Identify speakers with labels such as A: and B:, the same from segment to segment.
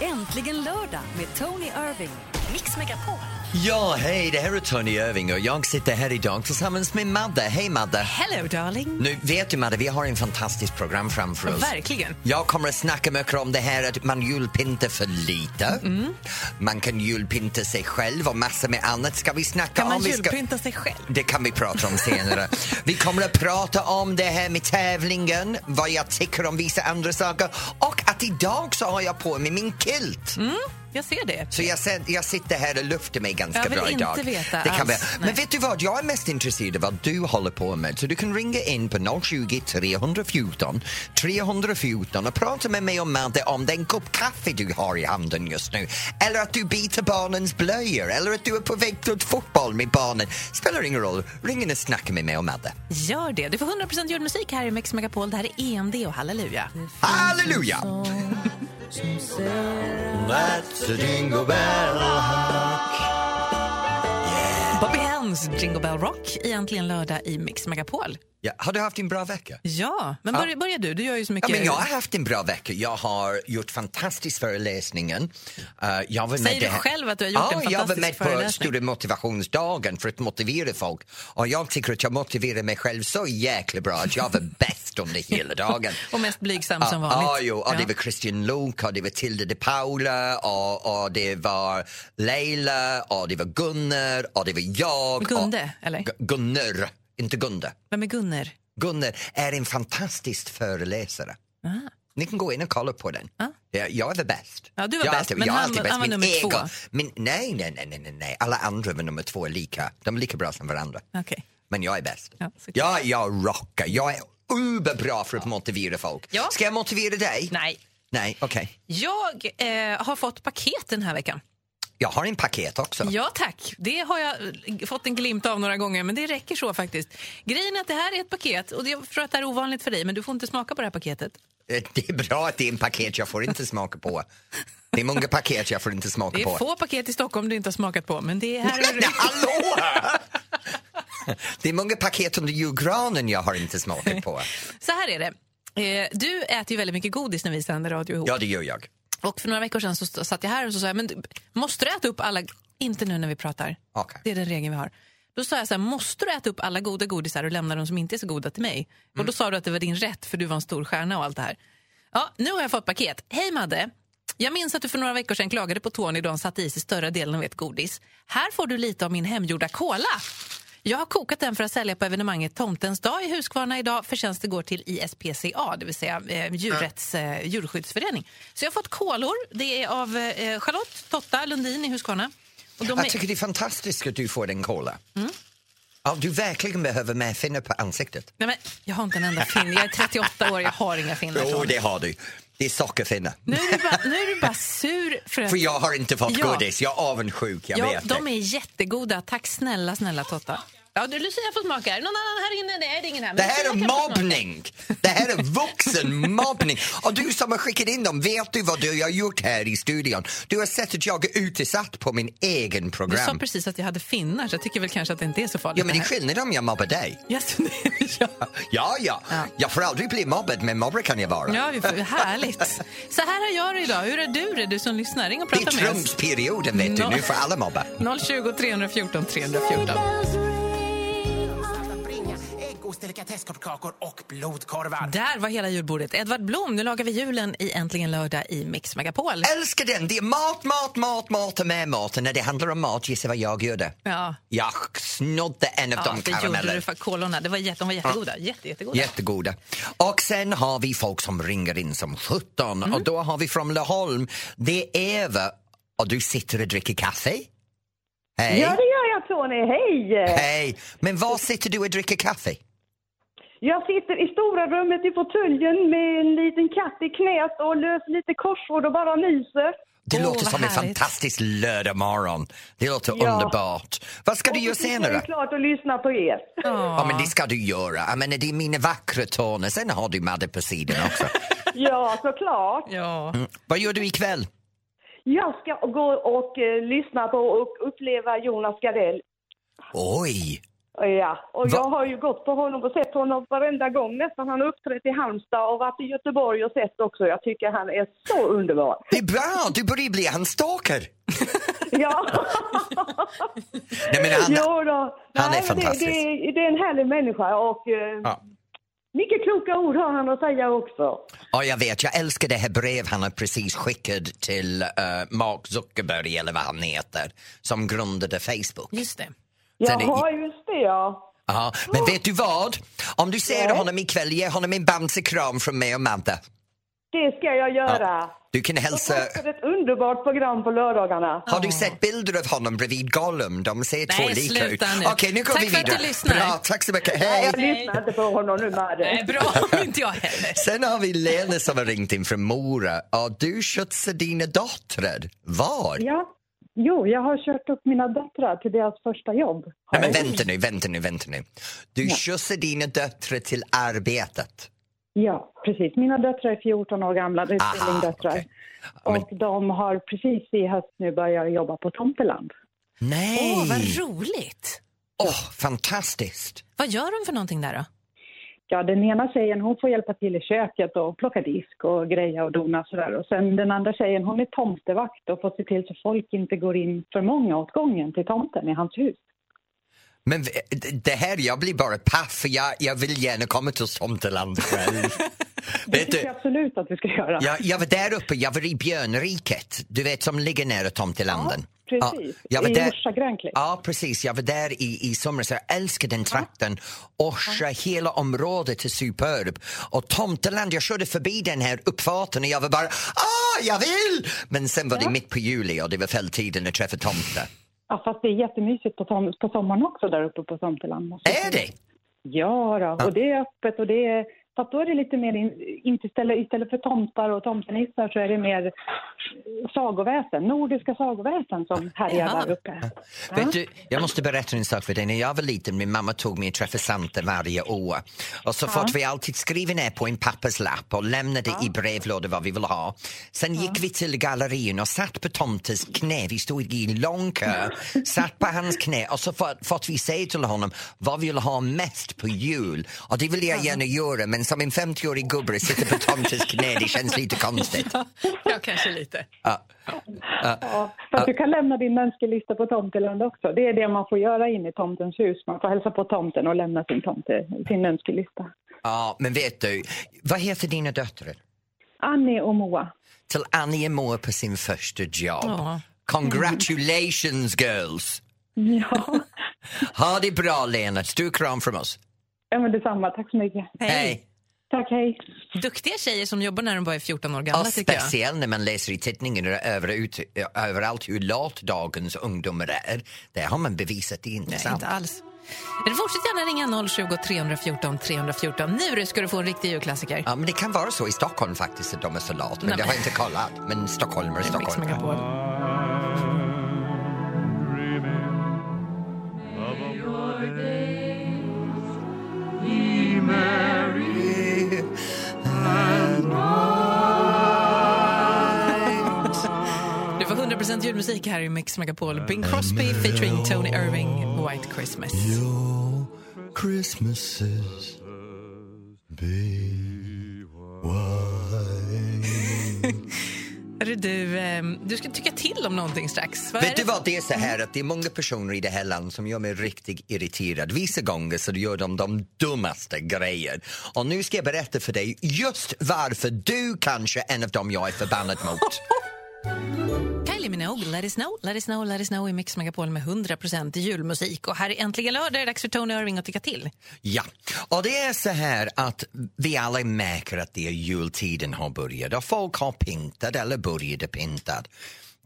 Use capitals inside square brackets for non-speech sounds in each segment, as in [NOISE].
A: Äntligen lördag med Tony Irving. Mix Megapol.
B: Ja, hej, det här är Tony Irving och jag sitter här idag tillsammans med Madde. Hej Madde!
C: Hello darling.
B: Nu vet du Madde, vi har en fantastiskt program framför oss.
C: Verkligen.
B: Jag kommer att snacka mycket om det här att man julpyntar för lite.
C: Mm.
B: Man kan julpynta sig själv och massor med annat. Ska vi snacka
C: Kan
B: om...
C: man
B: vi ska...
C: julpynta sig själv?
B: Det kan vi prata om senare. vi kommer att prata om det här med tävlingen, vad jag tycker om vissa andra saker och att idag så har jag på mig min kilt.
C: Jag ser det.
B: Så jag, sen- jag sitter här och lufter mig ganska
C: Jag vill
B: bra
C: inte
B: idag.
C: veta
B: det kan
C: alls,
B: vi-
C: nej.
B: Men vet du vad, jag är mest intresserad av vad du håller på med. Så du kan ringa in på 020 314 314 och prata med mig och Madde om den kopp kaffe du har i handen just nu. Eller att du biter barnens blöjor eller att du är på väg till fotboll med barnen. Spelar ingen roll, ring in och snacka med mig och Madde.
C: Gör det. Du får 100% julmusik här i Mix Megapol. Det här är EMD och Halleluja.
B: Halleluja! That's a jingle bell
C: Bobby Hens, Jingle Bell Rock, egentligen lördag i Mix Megapol.
B: ja, Har du haft en bra vecka?
C: Ja, men börja, börja du. Du gör ju så mycket.
B: Ja, men
C: [LAUGHS]
B: jag har haft en bra vecka. Jag har gjort fantastisk föreläsningen. Eh, jag var
C: Säger
B: med
C: du
B: där-
C: själv att du har gjort
B: ja,
C: en
B: jag var
C: fantastisk
B: med på
C: föreläsning?
B: Stora motivationsdagen för att motivera folk. Och jag tycker att jag motiverar mig själv så jäkla bra att jag var
C: [LAUGHS]
B: bäst under hela dagen.
C: Och mest blygsam som
B: Ja,
C: vanligt.
B: Ja, jo. Och det
C: Ja.
B: var Christian Luuk och det var Tilde de Paula och, och det var Leila och det var Gunnar och det var jag.
C: Gunde, eller?
B: Och, Gu- Gunnar, inte Gunde.
C: Vem är Gunnar?
B: Gunnar är en fantastisk föreläsare.
C: Ah.
B: Ni kan gå in och kolla på den.
C: Ja.
B: Ja, jag är bäst.
C: Ja, du var
B: jag är
C: bäst,
B: alltid-
C: men
B: jag är
C: han-
B: alltid
C: han var
B: Min
C: nummer två.
B: Min, nej, nej, nej, nej, nej, nej. Alla andra var nummer två lika. De är lika bra som varandra.
C: Okej.
B: Men jag är bäst.
C: Ja, såklart.
B: ja, jag rockar. Jag är uberbra för att motivera folk.
C: Ja.
B: Ska jag motivera dig?
C: Nej.
B: Nej, okej.
C: Jag eh, har fått paket den här veckan.
B: Jag har en paket också.
C: Ja tack, det har jag eh, fått en glimt av några gånger men det räcker så faktiskt. Grejen är att det här är ett paket och det- jag förstår att det här är ovanligt för dig men du får inte smaka på det här paketet.
B: Det är bra att det är en paket jag får inte smaka på. Det är många paket jag får inte smaka
C: Det är
B: på.
C: få paket i Stockholm du inte har smakat på men det är här har
B: Nej,
C: du...
B: hallå! Det är många paket under julgranen jag har inte smakat på.
C: Så här är det. Eh, Du äter ju väldigt mycket godis när vi sänder radio ihop.
B: Ja, det gör jag.
C: Och för några veckor sedan så st- satt jag här och så sa jag, men du, måste du äta upp alla... Inte nu när vi pratar.
B: Okej.
C: Det är den regeln vi har. Då sa jag så här, måste du äta upp alla goda godisar och lämna de som inte är så goda till mig?
B: Mm.
C: Och då sa du att det var din rätt för du var en stor stjärna och allt det här. Ja, nu har jag fått paket. Hej Madde! Jag minns att du för några veckor sedan klagade på Tony då han satte i sig större delen av ett godis. Här får du lite av min hemgjorda cola. Jag har kokat den för att sälja på evenemanget Tomtens dag i Huskvarna idag. Förtjänster går till ISPCA, det vill säga eh, djurrätts, eh, djurskyddsförening. Så jag har fått kolor. Det är av eh, Charlotte Totta Lundin i Huskvarna. Och de är- Mm.
B: Jag tycker det är fantastiskt att du får den cola. Ja, du verkligen behöver mer finnar på ansiktet.
C: Nej, men jag har inte en enda finne. Jag är 38 år, jag har inga finnar.
B: Jo,
C: Tony.
B: det har du. Det är sockerfinnar.
C: Nu, är du bara, nu är du bara sur för att...
B: För jag har inte fått
C: Ja.
B: godis. Jag är avundsjuk, jag
C: ja,
B: vet
C: de
B: det.
C: är jättegoda. Tack snälla, snälla Totta. Ja, du, Lucia får smaka. Är det Någon annan här inne? Nej, det är ingen här. Men
B: Det här
C: Lucia kan
B: är
C: få smaka.
B: mobbning! Det här är vuxen mobbning. Och du som har skickat in dem, vet du vad du har gjort här i studion? Du har sett att jag är utesatt på min egen
C: Du sa
B: program.
C: precis att jag hade finnar, så jag tycker väl kanske att det inte är så farligt.
B: Ja, men det är
C: här.
B: skillnad om jag mobbar dig.
C: Yes, det- ja.
B: Ja, ja.
C: Ja.
B: Jag får aldrig bli mobbad, men mobbare kan jag vara.
C: ja, vi får- härligt. Så här har jag det idag. Hur är du det, du som lyssnar? Ring och
B: Det är
C: prata med oss.
B: Trumpsperioden, vet du.
C: No.
B: Nu får alla mobba.
C: 020 314 314.
D: Bringa ägg, ost, delikatesskorvkakor och blodkorvar.
C: Där var hela julbordet. Edvard Blom, nu lagar vi julen i Äntligen lördag i Mix Megapol.
B: Älskar den! Det är mat, mat, mat, mat och mer mat. Och när det handlar om mat, gissa vad jag gjorde?
C: Ja.
B: Jag snodde en av
C: Ja,
B: de
C: det gjorde
B: karamellerna.
C: du för kolorna. Det var jätte, de var jättegoda. Jätte, jättegoda.
B: Jättegoda. Och sen har vi folk som ringer in som 17
C: Mm.
B: och då har vi från Laholm, det är Eva och du sitter och dricker kaffe. Hej!
E: Ja, det gör jag Tony. Hej!
B: Hej! Men var sitter du och dricker kaffe?
E: Jag sitter i stora rummet i fåtöljen med en liten katt i knät och löser lite korsord och bara myser.
B: Det
C: Åh,
B: låter
C: vad
B: som en
C: härligt.
B: fantastisk lördagmorgon. Det låter
E: Ja.
B: underbart. Vad ska du göra
E: Och så sitter
B: senare?
E: jag klart och lyssnar på
B: [LAUGHS]
E: er.
C: Ja.
B: Ja, men det ska du göra. Jag menar, det är mina vackra toner. Sen har du Madde på sidan också.
E: Ja, såklart.
C: Ja. Mm.
B: Vad gör du ikväll?
E: Jag ska gå och eh, lyssna på och uppleva Jonas Gardell.
B: Oj!
E: Ja, och jag
B: Va-
E: har ju gått på honom och sett honom varenda gång nästan. Han har uppträtt i Halmstad och varit i Göteborg och sett också. Jag tycker han är så underbar.
B: Det är bra, du börjar bli hans stalker.
E: Ja.
B: [LAUGHS] Nej, men han,
E: jo då.
B: han är
E: men
B: fantastisk.
E: Det, det, det är en härlig människa och eh,
B: Ja.
E: mycket kloka ord har han att säga också.
B: Ja, jag vet. Jag älskar det här brev han har precis skickat till eh, Mark Zuckerberg, eller vad han heter, som grundade Facebook.
C: Just det.
B: Sen är-
E: Jaha, just det ja.
B: Ja, men vet du vad? Om du ser
E: Nej.
B: honom ikväll, ge honom en bamsekram från mig och Madde.
E: Det ska jag göra.
B: Du kan hälsa...
E: Tack för ett underbart program på lördagarna.
B: Har du sett bilder av honom bredvid Gollum? De ser
C: Nej,
B: två lika ut.
C: sluta nu.
B: Okej, nu går
C: Tack
B: vi
C: för att
B: vidare.
C: du lyssnar.
B: Bra, tack så mycket.
E: Nej,
B: Hej!
E: jag lyssnar inte på honom nu
C: Nej,
E: med
C: [LAUGHS] bra, inte jag heller.
B: Sen har vi Lena som har ringt in från Mora. Har du skjutsar dina döttrar? Var?
E: Ja. Jo, jag har kört upp mina döttrar till deras första jobb.
B: Nej, men vänta nu, vänta nu, vänta nu. Du skjutsar dina döttrar till arbetet.
E: Ja, precis. Mina döttrar är 14 år gamla, det är
B: Aha,
E: tvillingdöttrar.
B: okej. Ja, men-
E: Och de har precis i höst nu börjat jobba på Tomteland.
B: Nej!
C: Åh,
B: Åh,
C: vad roligt.
B: fantastiskt!
C: Vad gör de för någonting där då?
E: Ja, den ena tjejen hon får hjälpa till i köket och plocka disk och greja och dona sådär. Och sen den andra tjejen hon är tomtevakt och får se till så folk inte går in för många åt gången till tomten i hans hus.
B: Men v- d- det här, jag blir bara paff för jag, jag vill gärna komma till Tomteland själv.
C: [LAUGHS]
E: Det
B: Vet
E: tycker
B: du,
E: jag absolut att vi ska göra.
B: jag, jag var där uppe, jag var i Björnriket, du vet som ligger nära Tomtelanden.
E: Precis,
B: jag var
E: i
B: där-
E: Orsa grännklipp.
B: Ja, precis. Jag var där i, i somras. Jag älskar den trakten. Orsa, hela området är superb. Och Tomteland, jag körde förbi den här uppfarten och jag var bara ah, jag vill! Men sen var det mitt på juli och det var fälltiden att träffa tomte.
E: Ja, fast det är jättemysigt på, tom- på sommaren också där uppe på Tomteland. måste jag
B: Är
E: säga.
B: det?
E: Ja, då. och det är öppet och det är... Fast då är det lite mer, in, inte istället, istället för tomtar och tomtenissar så är det mer sagoväsen, nordiska sagoväsen som härjar
C: Ja.
E: där uppe.
B: Vet du, jag måste berätta en sak för dig. När jag var liten, min mamma tog mig och träffade Santa varje år. Och så fort vi alltid skriva ner på en papperslapp och lämnade i brevlådan vad vi ville ha. Sen gick vi till gallerin och satt på tomtens knä. Vi stod i en lång kö, satt på hans knä och så fort, fort vi säger till honom vad vi vill ha mest på jul. Och det vill jag gärna göra, men som en 50-årig gubbe sitter på tomtens knä, det känns lite
C: [LAUGHS]
B: konstigt.
C: Ja, kanske lite.
E: Ja, fast du kan lämna din önskelista på Tomteland också. Det är det man får göra inne i tomtens hus. Man får hälsa på tomten och lämna sin, tomte, sin önskelista.
B: Ja, men vet du, vad heter dina döttrar?
E: Annie och Moa.
B: till Annie Moore på sin första jobb.
C: Ja.
B: Congratulations girls!
E: Ja,
B: Ha det bra Lena, stor kram från oss.
E: [LAUGHS] ja men detsamma. Tack så mycket.
C: Hej.
E: Tack, hej.
C: Duktiga tjejer som jobbar när de bara är 14 år gamla
B: Och
C: tycker jag.
B: speciellt när man läser i tidningen över ut, överallt hur lat dagens ungdomar är. Det har man bevisat, det är inte
C: Nej,
B: sant.
C: inte alls. Men Fortsätt gärna ringa 020 314 314. Nu ska du få en riktig julklassiker.
B: Ja, men det kan vara så i Stockholm faktiskt att de är så lat, men
C: Nej,
B: det har
C: men- liksom
B: jag inte kollat. Men stockholmare är
C: Mix
B: stockholmare.
C: Megapol. Du får 100% julmusik här i Mix Megapol. Bing Crosby featuring Tony Irving, White Christmas.
B: Christmases
C: Hörru, du, ehm, du ska tycka till om någonting strax. Vad är
B: Vet
C: det?
B: du
C: Mm.
B: vad, det är så här att det är många personer i det här landet som gör mig riktigt irriterad. Vissa gånger så gör de de dummaste grejer. Och nu ska jag berätta för dig just varför du kanske är en av dem jag är förbannad
C: [LAUGHS]
B: mot.
C: Kylie Minogue, Let it snow, let it snow, let it snow i Mix Megapol med 100% julmusik. Och här är äntligen lördag, det är dags för Tony Irving att tycka till.
B: Ja, och det är så här att vi alla märker att det är jultiden har börjat och folk har pyntat eller började pynta.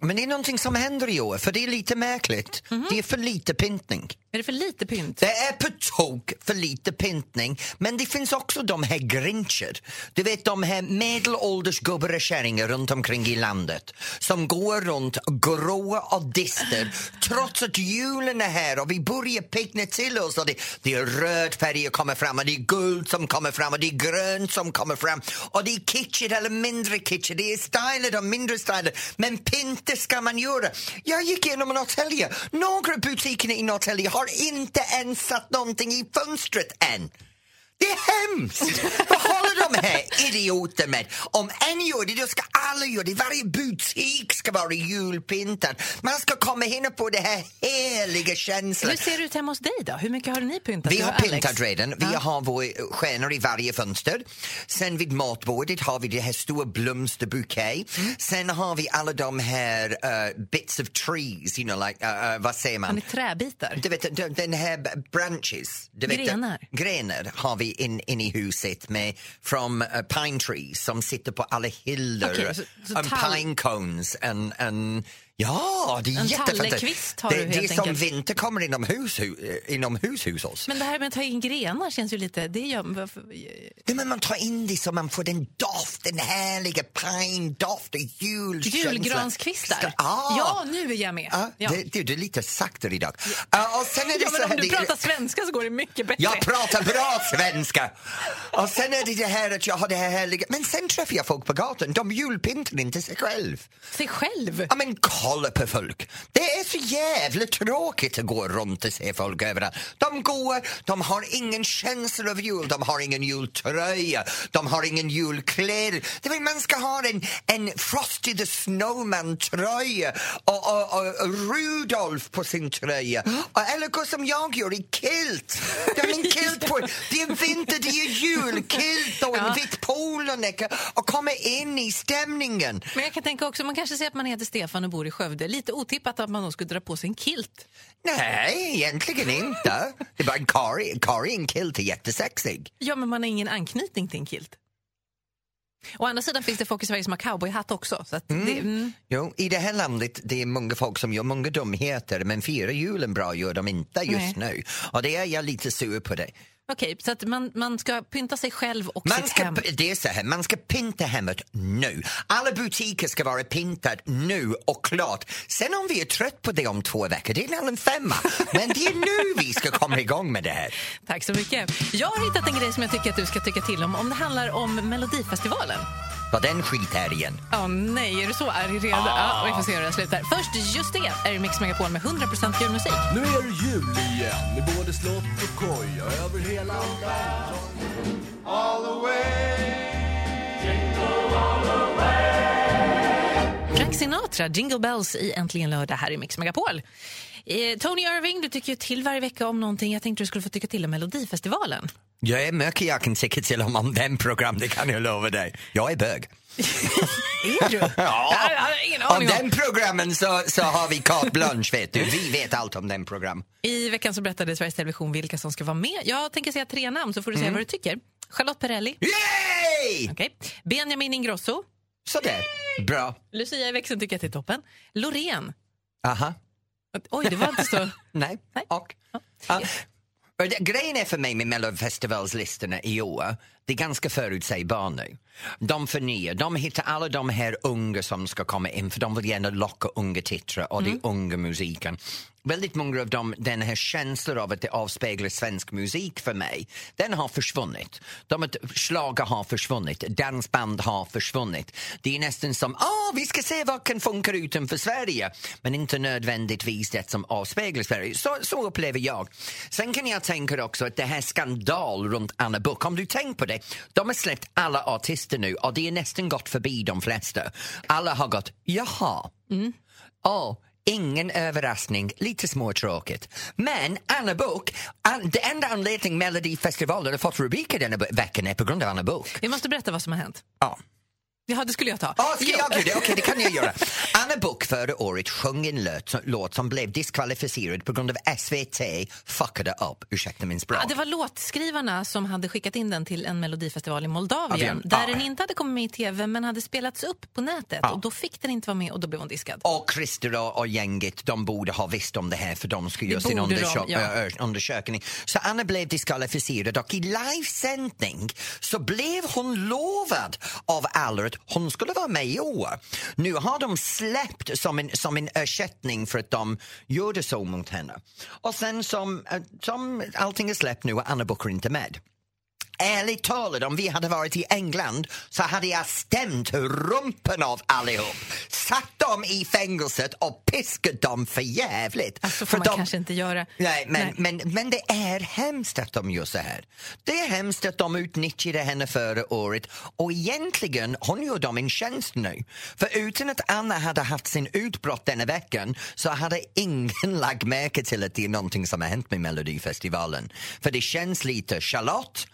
B: Men det är någonting som händer i år för det är lite märkligt.
C: Mhm.
B: Det är för lite pyntning.
C: Är det för lite pynt?
B: Det är på tok för lite pyntning, men det finns också de här grincher. Du vet de här medelålders gubbar och kärringar runt omkring i landet som går runt gråa och dyster trots att julen är här och vi börjar pickna till oss och det, det är röd färg som kommer fram och det är guld som kommer fram och det är grönt som kommer fram och det är kitschigt eller mindre kitschigt, det är stylat och mindre stylat men pynta ska man göra. Jag gick igenom Norrtälje, några butiker i Norrtälje har har inte ens satt någonting i fönstret än. Det är hemskt! Vad håller de här idioter med? Om en gör det, då ska alla göra det. Varje butik ska vara julpyntad. Man ska komma in och få den här heliga känslan.
C: Hur ser det ut hemma hos dig då? Hur mycket har ni pyntat?
B: Vi
C: Du
B: har
C: och Alex?
B: pyntat redan. Vi
C: Ja.
B: har våra stjärnor i varje fönster. Sen vid matbordet har vi det här stora blomsterbukett.
C: Mm.
B: Sen har vi alla de här eh, bits of trees, you know, like, eh, eh, vad säger
C: Har
B: man?
C: ni träbitar?
B: Du vet, de- den här b- branches. Du vet,
C: Grenar.
B: Grenar har vi in, in i huset med från eh, pine trees som sitter på alla hyllor.
C: Okej, så- så
B: en
C: tall-
B: pine cones. En, en, ja, det är
C: En
B: jättefantastiskt.
C: tallekvist har
B: Det,
C: du
B: det är
C: helt
B: som
C: enkelt.
B: vinter kommer inomhus, hu- eh, inomhus hos oss.
C: Men det här med att ta in grenar känns ju lite... Det gör, varför,
B: Nej, men man tar in det så man får den doft, den härliga pine-doft och julkänslan.
C: julgranskvistar?
B: Ska- Ah,
C: Ja, nu är jag med.
B: Ah,
C: Ja.
B: Det, du, du är lite saktare idag. Ah, och sen är det
C: Ja,
B: så
C: men
B: här,
C: om du
B: det-
C: pratar svenska så går det mycket bättre.
B: jag pratar bra svenska! Och sen är det det här att jag har det här härliga... Men sen träffar jag folk på gatan, de julpyntar inte sig själv.
C: Sig själv.
B: Ja men kolla på folk! Det är så jävla tråkigt att gå runt och se folk överallt. De går, de har ingen känsla av jul, de har ingen jultröja, de har ingen julkläder. Det vill, man ska ha en, en Frosty the Snowman-tröja och, och, och Rudolf på sin tröja. Och, eller gå som jag gör i kilt! Det är min kilt på Det är vinter, det är julkilt och en vit polonäcka och komma in i stämningen.
C: Men jag kan tänka också, man kanske säger att man heter Stefan och bor i Skövde. Lite otippat att man då skulle dra på sig en kilt.
B: Nej, egentligen inte. Det var en Kari, Kari i en kilt är jättesexig.
C: Ja, men man har ingen anknytning till en kilt. Å andra sidan finns det folk i Sverige som har cowboyhatt också. Så att det, mm.
B: Jo, i det här landet det är många folk som gör många dumheter men firar julen bra gör de inte just nu. Och det är jag lite sur på det.
C: Okej, så att man, man ska pynta sig själv och
B: Man
C: sitt
B: ska,
C: hem.
B: det är så här, man ska pynta hemmet nu. Alla butiker ska vara pintade nu och klart. Sen om vi är trött på det om två veckor, det är en annan femma. Men det är nu vi ska komma igång med det här.
C: Tack så mycket. Jag har hittat en grej som jag tycker att du ska tycka till om. Om det handlar om Melodifestivalen.
B: Vad den skithelgen.
C: Åh nej, är du så arg redan? Ja, vi får se hur det slutar. Först just det är det Mix Megapol med 100% julmusik.
F: Nu är det jul igen med både slott och koja över hela världen.
C: Frank Sinatra, Jingle Bells i Äntligen lördag här i Mix Megapol. Eh, Tony Irving, du tycker ju till varje vecka om någonting. Jag tänkte du skulle få tycka till om Melodifestivalen.
B: Jag är mycket jag kan tycka till om, om den program, det kan jag lova dig. Jag är bög.
C: [LAUGHS] Är du?
B: Ja.
C: Jag har ingen
B: Om
C: aning om.
B: den programmen så, så har vi carte blanche, vet du. Vi vet allt om den program.
C: I veckan så berättade Sveriges Television vilka som ska vara med. Jag tänker säga tre namn så får du säga
B: Mm.
C: vad du tycker. Charlotte Perrelli,
B: Yay!
C: okay. Benjamin Ingrosso,
B: Sådär, bra.
C: Lucia i växeln tycker jag är toppen, Loreen.
B: Aha,
C: Oj, det var inte
B: [LAUGHS]
C: så...
B: nej,
C: Nej.
B: och. Ja. Och det- Grejen är för mig med Melodifestivalslistorna i år, det är ganska förutsägbart nu. De förnyar, de hittar alla de här unga som ska komma in för de vill gärna locka unga tittare och det är unga musiken. Väldigt många av dem, den här känslan av att det avspeglar svensk musik för mig, den har försvunnit. De att schlager har försvunnit, dansband har försvunnit. Det är nästan som, ah, vi ska se vad kan funka utanför Sverige, men inte nödvändigtvis det som avspeglar Sverige. Så, så upplever jag. Sen kan jag tänka också att det här skandal runt Anna Book, om du tänker på det, de har släppt alla artister nu och det är nästan gått förbi de flesta. Alla har gått, jaha, Åh, ingen överraskning, lite småtråkigt. Men Anna Book, an, det enda anledningen Melodifestivalen har fått rubriker denna be- veckan är på grund av Anna Book.
C: Vi måste berätta vad som har hänt.
B: Ja.
C: Ja, det skulle jag ta.
B: Ja, ska
C: Jo.
B: jag göra det? Okej, det kan jag göra. Anna Book förra året sjöng en låt, låt som blev diskvalificerad på grund av SVT fuckade upp, ursäkta min språk.
C: Ja, det var låtskrivarna som hade skickat in den till en melodifestival i Moldavien
B: Avien,
C: där
B: ja.
C: den inte hade kommit med i tv men hade spelats upp på nätet och då fick den inte vara med och då blev hon diskad.
B: Och Christer och, och gänget, de borde ha visst om det här för de skulle göra sin
C: borde de,
B: undersö-
C: ja.
B: ö- ö- undersökning. Så Anna blev diskvalificerad och i livesändning så blev hon lovad av alla att hon skulle vara med i år. Nu har de släppt som en, som en ersättning för att de gjorde så mot henne. Och sen som, eh, som allting är släppt nu och Anna Book är inte med. Ärligt talat, om vi hade varit i England så hade jag stämt rumpen av allihop. Satt dem i fängelset och piskat dem för jävligt.
C: Alltså får man
B: de-
C: kanske inte göra.
B: Nej, men,
C: Nej.
B: Men, men det är hemskt att de gör så här. Det är hemskt att de utnyttjade henne förra året och egentligen, hon gör dem en tjänst nu. För utan att Anna hade haft sin utbrott denna veckan så hade ingen [LAUGHS] lagt märke till att det är någonting som har hänt med Melodifestivalen. För det känns lite Charlotte,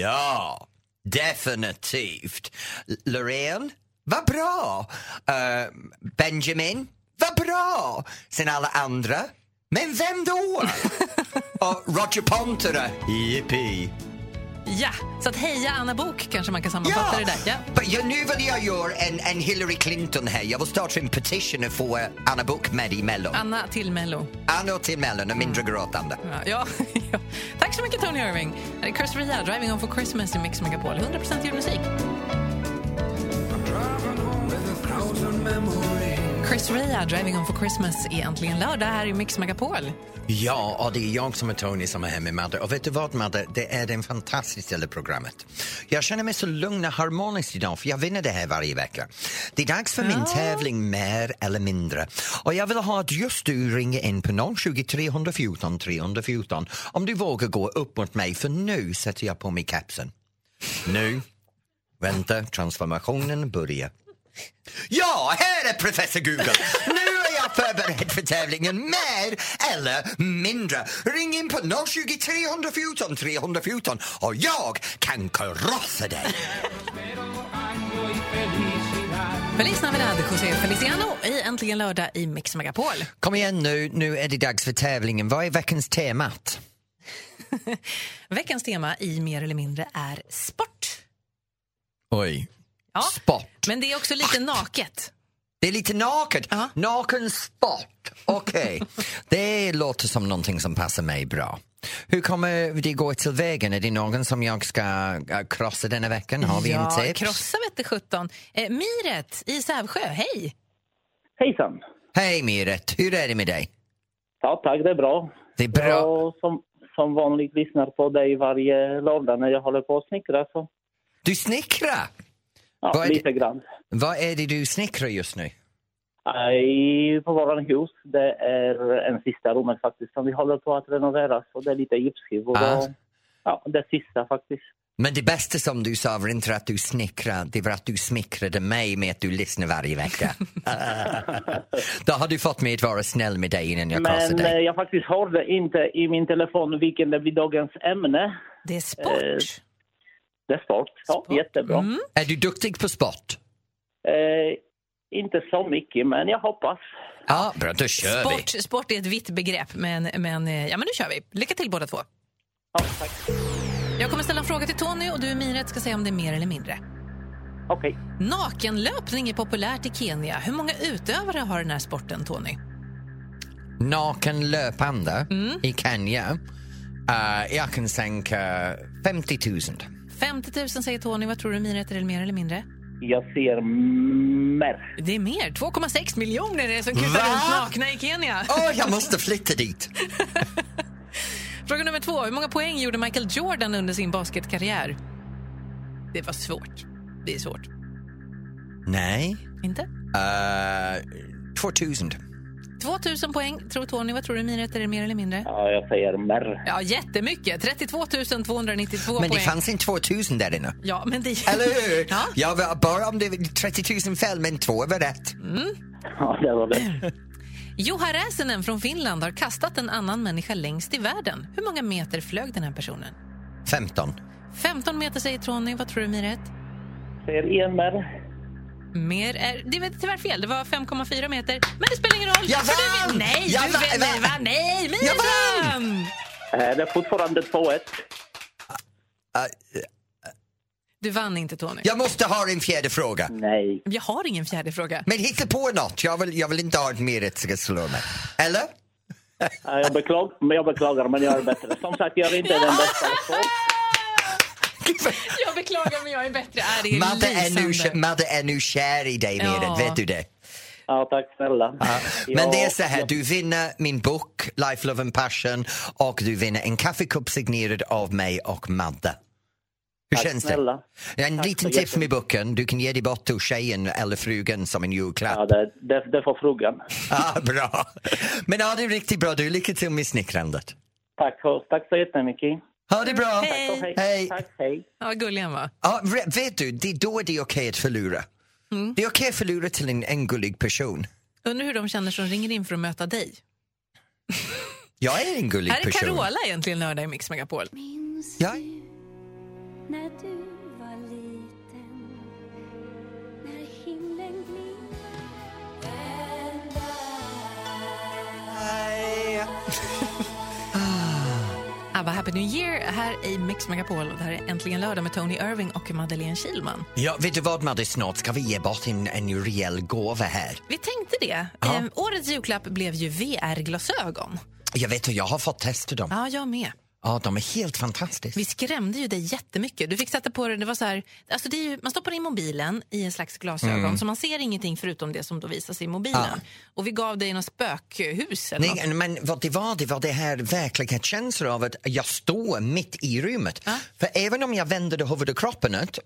B: ja, definitivt. L- Loreen, vad bra! Eh, Benjamin, vad bra! Sen alla andra, men
C: [LAUGHS]
B: vem då? Och Roger Pontare, jippi!
C: Ja, så att heja Anna Bok kanske man kan sammanfatta det där. Ja.
B: But, ja, nu vill jag göra en, en Hillary Clinton här. Jag vill starta en petition och få eh, Anna Book med i Mellon.
C: Anna till Mello.
B: Anna till Mellon och mindre gråtande.
C: Ja, Eh, ja, [LAUGHS] ja. Tack så mycket Tony Irving. Det är Chris Ria, Driving Home for Christmas i Mix Megapol. 100% julmusik. Chris Ria, Driving Home for Christmas är äntligen lördag här i Mix Megapol.
B: Ja, och det är jag som är Tony som är här med Madde. Och vet du vad Madde, det är den fantastiska delen av programmet. Jag känner mig så lugn och harmonisk idag för jag vinner det här varje vecka. Det är dags för min tävling mer eller mindre. Och jag vill ha att just du ringer in på 020 314 314 om du vågar gå upp mot mig för nu sätter jag på mig kapsen. Nu, vänta, transformationen börjar. Ja, här är professor Google. Nu är jag förberedd för tävlingen mer eller mindre. Ring in på 020 314 314 och jag kan krossa dig.
C: Feliz Navidad, José Feliciano i Äntligen lördag i Mix Megapol.
B: Kom igen nu, nu är det dags för tävlingen. Vad är veckans temat?
C: Veckans tema i Mer eller mindre är sport.
B: Oj.
C: Ja,
B: Sport.
C: men det är också lite naket.
B: Det är lite naket.
C: Ja.
B: Naken sport.
C: [LAUGHS]
B: Okej. det låter som någonting som passar mig bra. Hur kommer det gå till vägen? Är det någon som jag ska eh, krossa denna veckan? Har vi
C: ja,
B: en tips?
C: krossa vette sjutton. Eh, Miret i Sävsjö, hej!
G: Hejsan!
B: Hej Miret, hur är det med dig?
G: Ja, tack, det är bra.
B: Det är bra.
G: Jag som, som vanligt lyssnar på dig varje lördag när jag håller på att snickra. Så,
B: Du snickrar!
G: ja,
B: Vad är det-
G: lite grann.
B: Vad är det du snickrar just nu?
G: Äh, I, på våran hus, det är en sista rummet faktiskt som vi håller på att renovera. Så det är lite gipsskivor.
B: Ah.
G: och- Ja, det sista faktiskt.
B: Men det bästa som du sa var inte att du snickrar, det var att du smickrade mig med att du lyssnar varje [LAUGHS] vecka. Då har du fått mig att vara snäll med dig innan jag krossar
G: Men eh,
B: dig.
G: jag faktiskt hörde inte i min telefon vilken det blir dagens ämne.
C: Det är sport.
G: Eh, Det är sport. Ja, jättebra.
B: Är du duktig på sport?
G: Eh, inte så mycket, men jag hoppas.
B: Ja, bra, då kör vi.
C: Sport, sport är ett vitt begrepp, men, men, eh, ja, men nu kör vi. Lycka till båda två.
G: Ja, tack.
C: Jag kommer ställa en fråga till Tony och du Miret ska säga om det är mer eller mindre.
G: Okej.
C: Nakenlöpning är populärt i Kenya. Hur många utövare har den här sporten, Tony?
B: Naken löpande i Kenya. Eh, jag kan sänka 50 000.
C: 50 000 säger Tony. Vad tror du Miret är det mer eller mindre?
G: Jag ser mer.
C: Det är mer. 2,6 miljoner är det som kutar
B: Va?
C: runt nakna i Kenya.
B: Åh, jag måste flytta dit!
C: Fråga nummer två. Hur många poäng gjorde Michael Jordan under sin basketkarriär? Det var svårt. Det är svårt.
B: Nej.
C: Inte?
B: Uh, 2000.
C: 2000 poäng tror Tony. Vad tror du Miret är det mer eller mindre?
G: Ja, jag säger mer. [LAUGHS]
C: Ja, jättemycket. 32 292
B: Men det
C: poäng.
B: fanns inte 2000 där inne.
C: Ja, men det... [LAUGHS]
B: Eller hur?
C: Ja.
B: Jag var bara om det var 30 000 fel, men två var rätt.
G: Ja, det var det.
C: Juha Räsänen från Finland har kastat en annan människa längst i världen. Hur många meter flög den här personen?
B: 15.
C: 15 meter säger Tony. Vad tror du Miret?
G: Ser en mer.
C: Mer är... Det var tyvärr fel. Det var 5,4 meter. Men det spelar ingen roll.
B: Jag
C: för du
B: vann!
C: vin- Nej,
B: Jag
C: du
B: vann!
C: vann! Nej, va? Nej, Miret
B: Jag vann!
C: vann!
G: Eh, Det är fortfarande 2-1.
C: Du vann inte Tony.
B: Jag måste ha en fjärde fråga.
G: Nej.
C: Jag har ingen fjärde fråga.
B: Men hitta på något. Jag vill, jag vill inte ha ett merit som ska slå mig. Eller?
G: Eh, Jag beklagar, men jag beklagar, men jag är bättre. Som sagt, jag är inte den bästa. Så,
C: [LAUGHS] Jag beklagar, men jag är bättre. Äh, det är
B: Madde är, nu,
C: lysande.
B: kä- Madde är nu kär i dig, Merit.
C: Ja.
B: Vet du det?
G: ja, tack snälla.
B: Men det är så här, du vinner min bok Life, Love and Passion och du vinner en kaffekopp signerad av mig och Madde. Hur
G: Tack
B: känns
G: snälla.
B: det? En
G: Tack
B: liten
G: så
B: tiff med boken. Du kan ge det bort till tjejen eller frugan som en julklapp.
G: Ja, det, det, det får frugan.
B: [LAUGHS] Ah, bra! Men ha det riktigt bra du. Lycka till med snickrandet.
G: Tack, för- tack så jättemycket.
B: Ha det bra!
G: Tack och hej.
B: Hej.
G: Tack, hej.
C: Ja, gullig han var.
B: Ja, re- vet du, det, då är det okej att förlora.
G: Mm.
B: Det är okej att förlora till en, en gullig person.
C: Undrar hur de känner som ringer in för att möta dig.
B: Jag är en gullig
C: Här är
B: person.
C: Carola egentligen lördag i Mix Megapol.
H: Minns
B: Ja.
H: du när du var liten? När himlen glimrade?
C: ABBA Ah, Happy New Year här i Mix Megapol. Och det här är Äntligen lördag med Tony Irving och Madeleine Kilman.
B: Ja, vet du vad Madde, snart ska vi ge bort en, en rejäl gåva här.
C: Vi tänkte det.
B: Ja.
C: Ehm, årets julklapp blev ju VR-glasögon.
B: Jag vet att jag har fått testa dem.
C: Ja, jag med.
B: Ja, de är helt fantastiska.
C: Vi skrämde ju dig jättemycket. Du fick sätta på dig, det var så här, alltså det är ju, man stoppar in mobilen i en slags glasögon så man ser ingenting förutom det som då visas i mobilen.
B: Mm. Ja.
C: Och vi gav dig något spökhus eller något.
B: Nej, men vad det var, det var det här verklighetskänslan av att jag står mitt i rummet. För även om jag vände huvudet och kroppen ut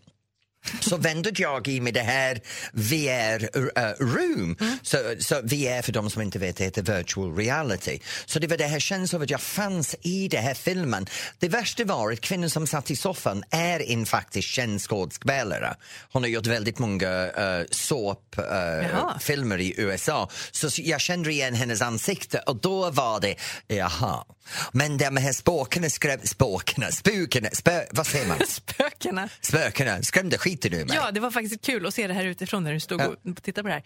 B: så vände jag i med det här VR-room.
C: Mm.
B: Så, så VR för de som inte vet heter virtual reality. Så det var det här känslan av att jag fanns i den här filmen. Det värsta var att kvinnan som satt i soffan är in faktiskt känd skådespelare. Hon har gjort väldigt många uh,
C: Jaha.
B: såpfilmer i USA. Så s- jag kände igen hennes ansikte och då var det, jaha. Men de här spåkarna skrämde, spåkarna, spukarna, spö, vad säger
C: [LAUGHS]
B: man?
C: [LAUGHS] Spökena.
B: Spökena skrämde skiten ur mig.
C: Ja, det var faktiskt kul att se det här utifrån när du stod och tittade på det här.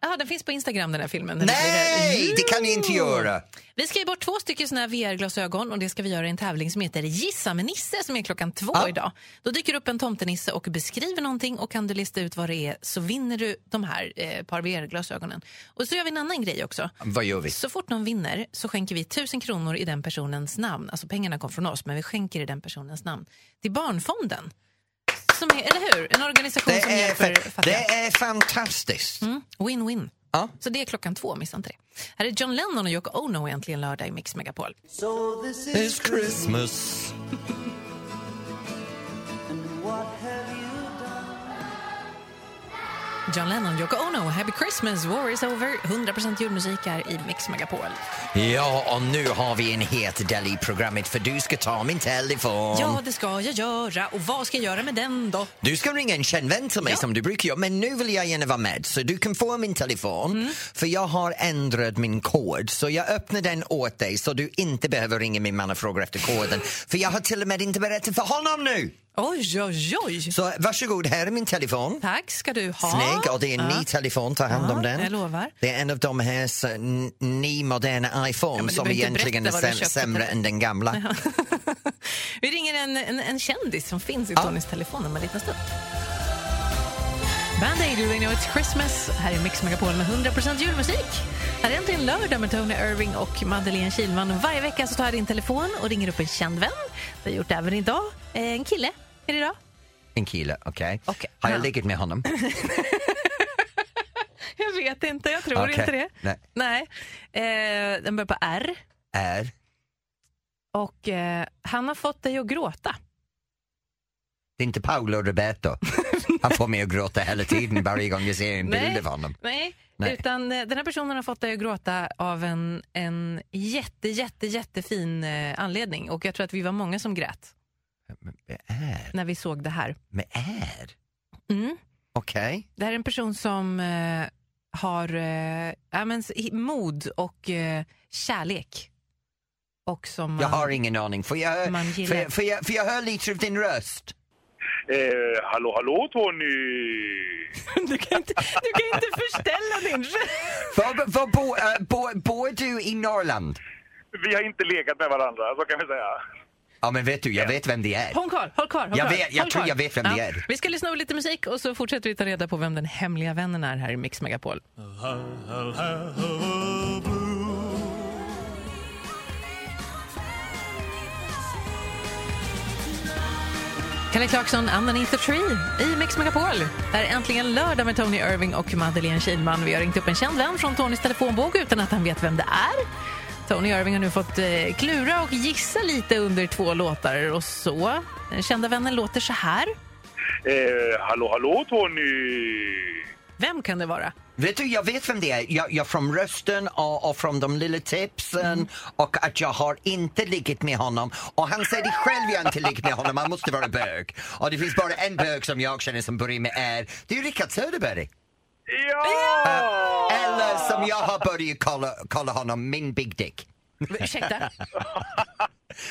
C: Ja, den finns på Instagram den här filmen. Den är-
B: Nej, det kan ni inte göra!
C: Vi ska ge bort två stycken såna här VR-glasögon och det ska vi göra i en tävling som heter Gissa med Nisse som är klockan två
B: Ja.
C: idag. Då dyker upp en tomtenisse och beskriver någonting och kan du lista ut vad det är så vinner du de här eh, par VR-glasögonen. Och så gör vi en annan grej också.
B: Vad gör vi?
C: Så fort någon vinner så skänker vi 1000 kronor i den personens namn. Alltså pengarna kom från oss men vi skänker i den personens namn till Barnfonden. Som är, eller hur? En organisation
B: Det
C: som
B: är,
C: hjälper
B: fa-
C: fattiga.
B: det är fantastiskt.
C: Mm, Win-win.
B: Ja.
C: Så det är klockan två, missa inte det. Här är John Lennon och Yoko Ono äntligen lördag i Mix Megapol.
B: It's Christmas.
C: John Lennon, Yoko Ono, Happy Christmas, War is over. 100% julmusik här i Mix Megapol.
B: Ja, och nu har vi en het del i programmet för du ska ta min telefon.
C: Ja, det ska jag göra. Och vad ska jag göra med den då?
B: Du ska ringa en känd vän till mig som du brukar göra, men nu vill jag gärna vara med så du kan få min telefon
C: Mm.
B: för jag har ändrat min kod så jag öppnar den åt dig så du inte behöver ringa min man och fråga efter koden för jag har till och med inte berättat för honom nu.
C: Oj, oj, oj.
B: Så varsågod, här är min telefon.
C: Tack ska du ha.
B: Snygg, och det är en ny telefon, ta hand om
C: Ja,
B: den.
C: jag lovar.
B: Det är en av de här så, n- ny moderna iPhone
C: men du
B: som
C: behöver inte
B: egentligen är
C: berätta vad du
B: säm-
C: köpte
B: sämre
C: till-
B: än den gamla.
C: [LAUGHS] Vi ringer en, en, en kändis som finns i Tonys telefon om en liten stund. Band Aid, You Know It's Christmas. Här är Mix Megapol med 100% julmusik. Här är äntligen lördag med Tony Irving och Madeleine Kilman. Varje vecka så tar jag din telefon och ringer upp en känd vän. Det har jag gjort även idag. Eh, En kille är det idag.
B: En kille, okej?
C: Okej.
B: Har jag
C: Ja.
B: legat med
C: [LAUGHS]
B: honom?
C: Jag vet inte, jag tror
B: Okej.
C: inte det.
B: Nej.
C: Eh, den börjar på R.
B: Är?
C: Och eh, han har fått dig att gråta.
B: Det är inte
C: [LAUGHS]
B: Paolo Roberto. Han får mig att gråta hela tiden varje gång jag ser en bild av honom.
C: Nej,
B: Nej.
C: utan eh, den här personen har fått dig att gråta av en, en jätte, jätte, jättefin eh, anledning. Och jag tror att vi var många som grät
B: Men är?
C: när vi såg det här.
B: Men är?
C: Mm.
B: Okej.
C: Det här är en person som eh, har eh, ja, men, s- i- mod och eh, kärlek. Och som man,
B: Jag har ingen aning. Får jag,
C: Man
B: får,
C: gillar-
B: jag, får, jag, får jag höra lite av din röst?
I: Eh, hallå, hallå Tony!
C: eh, [LAUGHS] du, kan inte, du kan inte förställa din röst.
B: Var, var, bo, eh, bo, bor du i Norrland?
I: Vi har inte legat med varandra, så kan vi säga.
B: Ja, men vet du, jag vet vem det är.
C: Håll kvar, håll kvar. Håll
B: Jag
C: kvar,
B: vet- jag
C: håll
B: tror
C: kvar.
B: jag vet vem det är.
C: Vi ska lyssna på lite musik och så fortsätter vi ta reda på vem den hemliga vännen är här i Mix Megapol. Kelly Clarkson, Underneath the Tree i Mix Megapol. Det här är äntligen lördag med Tony Irving och Madeleine Kilman. Vi har ringt upp en känd vän från Tonys telefonbok utan att han vet vem det är. Tony Irving har nu fått eh, klura och gissa lite under två låtar och så. Den kända vännen låter så här.
I: Eh, hallå, hallå Tony!
C: Vem kan det vara?
B: Vet du, jag vet vem det är. Jag, jag från rösten och, och från de lilla tipsen och att jag har inte ligget med honom. Och han säger det själv, jag har inte ligget med honom. Han måste vara bög. Och det finns bara en bög som jag känner som börjar med R. Det är ju Rickard Söderberg.
I: Ja!
B: Eller som jag har börjat kalla, kalla honom, min Big Dick. [LAUGHS]
C: Ursäkta?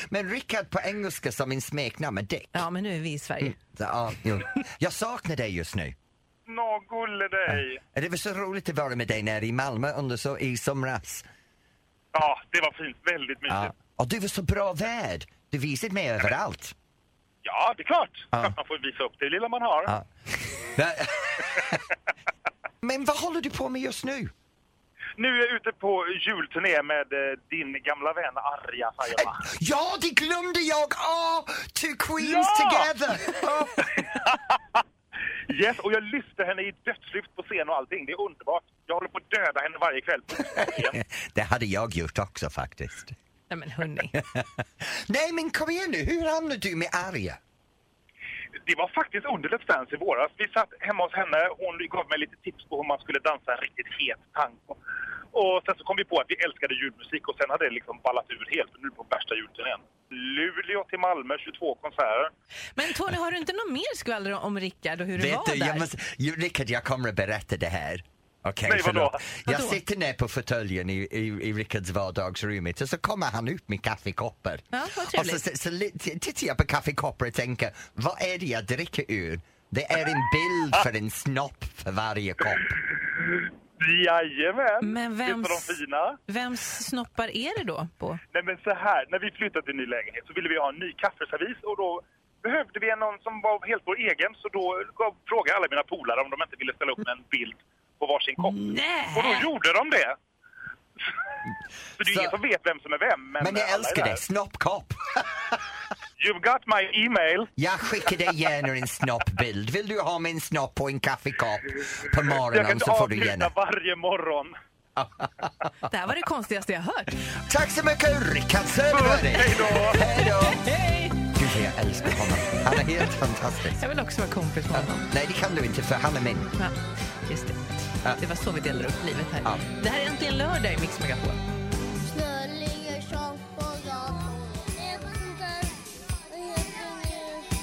B: Men Rickard på engelska som min smeknamn är Dick.
C: Ja, men nu är vi i Sverige.
B: Så, ja, jo. Jag saknar dig just nu.
I: Nå, gulle dig!
B: Det var så roligt att vara med dig nere i Malmö under så, i somras.
I: Ja, det var fint. Väldigt mysigt.
B: Ja.
I: Ja,
B: Och du var så bra värd. Du visade mig överallt.
I: det är klart. Man får visa upp det lilla man har.
B: Ja. [LAUGHS] Men vad håller du på med just nu?
I: Nu är jag ute på julturné med eh, din gamla vän Arja Saijonmaa.
B: Ja, det glömde jag! Åh, two queens [LAUGHS]
I: Ja!
B: together! Åh.
I: Yes, och jag lyfter henne i dödslyft på scen och allting. Det är underbart. Jag håller på att döda henne varje kväll. på scen.
B: Det hade jag gjort också faktiskt.
C: Nej, men hörni.
B: Nej, men kom igen nu, hur hamnade du med Arja?
I: Det var faktiskt under Let's Dance i våras. Vi satt hemma hos henne. Hon gav mig lite tips på hur man skulle dansa en riktigt het tango. Och sen så kom vi på att vi älskade julmusik och sen hade det liksom ballat ur helt. Nu är vi på värsta julturnén. Luleå till Malmö, 22 konserter.
C: Men Tony, har du inte något mer skvaller om Rickard och hur det var
B: du,
C: där?
B: jag måste, ju, Rickard, jag kommer att berätta det här. Okej,
I: Nej, vadå?
B: förlåt. Jag
C: Vadå?
B: sitter ner på fåtöljen i, i, i Rickards vardagsrum och så kommer han ut med kaffekoppar.
C: Ja, vad
B: och
C: trevligt.
B: så, så, så li- t- tittar jag på kaffekoppar och tänker, vad är det jag dricker ur? Det är en bild för en snopp för varje kopp.
I: Jajamän!
C: Men vems-
I: Visst var de fina?
C: Vems snoppar är det då på?
I: Nej men så här, när vi flyttade till ny lägenhet så ville vi ha en ny kaffeservis och då behövde vi någon som var helt vår egen så då gav- frågade alla mina polare om de inte ville ställa upp en bild på varsin kopp.
C: Nej!
I: Och då gjorde de det! så det är
B: Så-
I: ingen som vet vem som är vem. Men,
B: Men
I: alla
B: jag
I: är
B: älskar
I: där.
B: det, snoppkopp.
I: You've got my email.
B: Jag skickar dig gärna en snoppbild. Vill du ha min snopp på en kaffekopp på
I: Jag kan
B: morgonen
I: inte
B: så får du
I: avsluta
B: gärna.
I: varje morgon.
C: Det
B: [LAUGHS]
C: här var det konstigaste jag hört.
B: Tack så mycket, Rickard Söderberg!
I: Hej då!
B: Hej då!
C: Hej!
B: Gud, jag älskar honom. Han är helt fantastisk.
C: Jag vill också vara kompis med honom.
B: Nej, det kan du inte för han är min.
C: Ja, just det.
B: Ja.
C: Det var så vi delade upp livet här.
B: Ja.
C: Det här är äntligen lördag i Mix Megapol.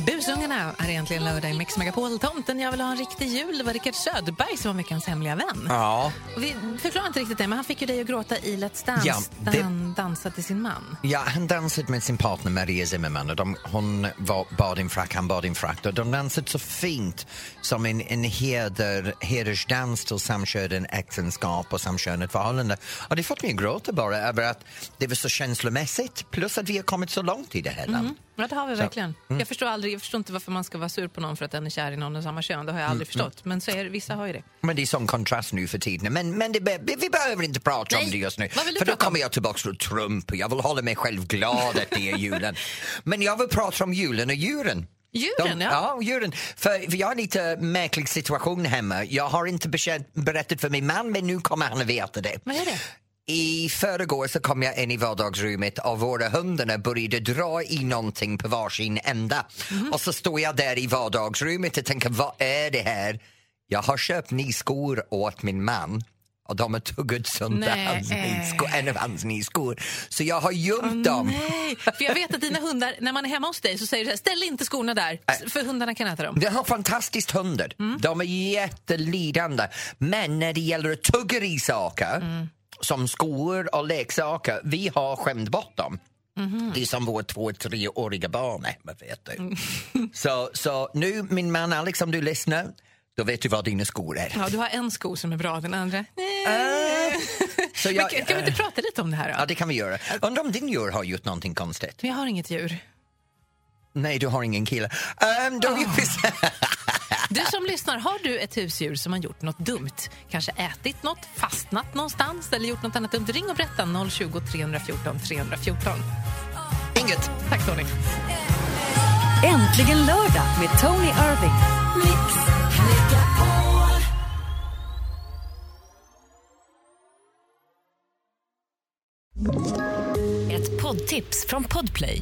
C: Busungarna är egentligen lördag i Mix Megapol. Tomten jag vill ha en riktig jul. Det var Rickard Söderberg som var veckans hemliga vän.
B: Ja.
C: Och vi förklarar inte riktigt det, men han fick ju dig att gråta i Let's Dance
B: Ja,
C: där
B: det-
C: han dansade till sin man.
B: ja, han dansade med sin partner Maria Zimmerman och de, hon var, bad i en frack, han bad i en frack. Och de dansade så fint som en, en heder, hedersdans till samkönade äktenskap och samkönat förhållande. Och det fått mig att gråta bara över att det var så känslomässigt plus att vi har kommit så långt i det här landet.
C: Ja, det har vi verkligen.
B: Mm.
C: Jag, förstår aldrig, jag förstår inte varför man ska vara sur på någon för att den är kär i någon av samma kön. Det har jag aldrig
B: Mm,
C: förstått. Men så är, det- vissa har ju det.
B: Men det är sån kontrast nu för tiden. Men, men det, be- vi, vi behöver inte prata
C: Nej.
B: om det just nu.
C: Vad vill du
B: För då
C: prata om?
B: kommer jag tillbaka till Trump och jag vill hålla mig själv glad
C: [LAUGHS]
B: att det är julen. Men jag vill prata om julen och djuren.
C: Djuren,
B: De,
C: ja.
B: ja. djuren. För, för jag har en lite märklig situation hemma. Jag har inte bekä- berättat för min man men nu kommer han att veta det.
C: Vad är det?
B: I förrgår så kom jag in i vardagsrummet och våra hundarna började dra i någonting på varsin ända.
C: Mhm.
B: Och så står jag där i vardagsrummet och tänker, vad är det här? Jag har köpt nya skor åt min man och de har tuggat sönder
C: Nej.
B: hans nya skor, en av hans nya skor. Så jag har gömt dem.
C: Nej, för jag vet att dina hundar, när man är hemma hos dig så säger du så här, ställ inte skorna där, s- för hundarna kan äta dem.
B: Vi har fantastiskt hundar.
C: Mm.
B: De är jättelidande. Men när det gäller att tugga i saker,
C: Mm.
B: som skor och leksaker, vi har skämt bort dem.
C: Mhm.
B: Det är som vårt två treåriga barn hemma, vet du.
C: Mm.
B: [LAUGHS] så, så nu, min man Alex, om du lyssnar, då vet du var dina skor är.
C: Ja, du har en sko som är bra, den andra... Nej.
B: Eh, Så
C: Men
B: jag, eh.
C: kan, kan vi inte prata lite om det här då?
B: ja, det kan vi göra. Undrar om din djur har gjort någonting konstigt?
C: Men jag har inget djur.
B: Nej, du har ingen kille. Um, då
C: Ah.
B: gör vi så här.
C: Du som lyssnar, har du ett husdjur som har gjort något dumt? Kanske ätit något, fastnat någonstans eller gjort något annat dumt? Ring och berätta 020 314 314.
B: Inget.
C: Tack Tony.
A: Äntligen lördag med Tony Irving.
J: Ett poddtips från Podplay.